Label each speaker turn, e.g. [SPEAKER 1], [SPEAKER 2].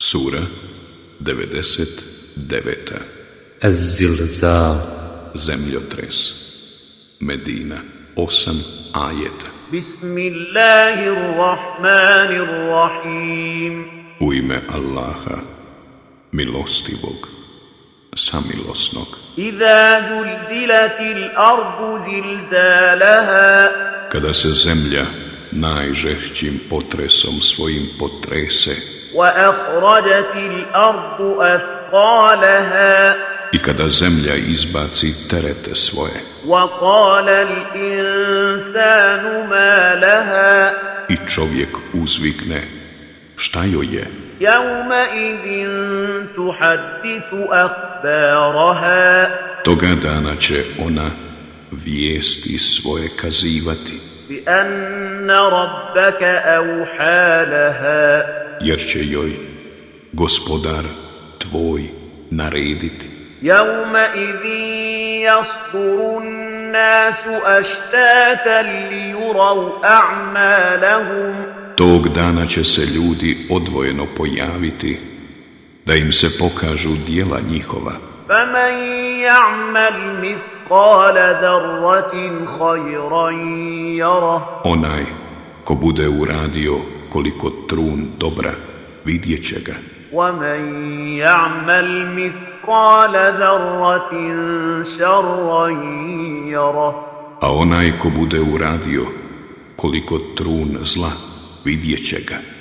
[SPEAKER 1] Sura 99.
[SPEAKER 2] الزلزال
[SPEAKER 1] Zemljotres. Medina. 8 ajeta.
[SPEAKER 3] بسم الله الرحمن الرحيم
[SPEAKER 1] U ime Allaha, milostivog, samilosnog.
[SPEAKER 3] إذا زلزلت الأرض زلزالها
[SPEAKER 1] Kada se zemlja najžešćim potresom svojim potrese
[SPEAKER 3] وأخرجت الأرض أثقالها
[SPEAKER 1] i kada zemlja izbaci terete svoje
[SPEAKER 3] وقال الإنسان ما لها
[SPEAKER 1] i čovjek uzvikne šta joj je,
[SPEAKER 3] يومئذ تحدث أخبارها
[SPEAKER 1] toga dana će ona vijesti svoje kazivati,
[SPEAKER 3] بأن ربك أوحى لها
[SPEAKER 1] jer će joj gospodar tvoj narediti.
[SPEAKER 3] يومئذ يصدر الناس أشتاتا ليروا أعمالهم
[SPEAKER 1] Tog dana će se ljudi odvojeno pojaviti, da im se pokažu dijela njihova,
[SPEAKER 3] فمن يعمل مثقال ذرة خيرا يره
[SPEAKER 1] onaj ko bude uradio koliko trun dobra, vidjet će ga.
[SPEAKER 3] ومن يعمل مثقال ذرة شرا يره
[SPEAKER 1] A onaj ko bude uradio koliko trun zla, vidjet će ga.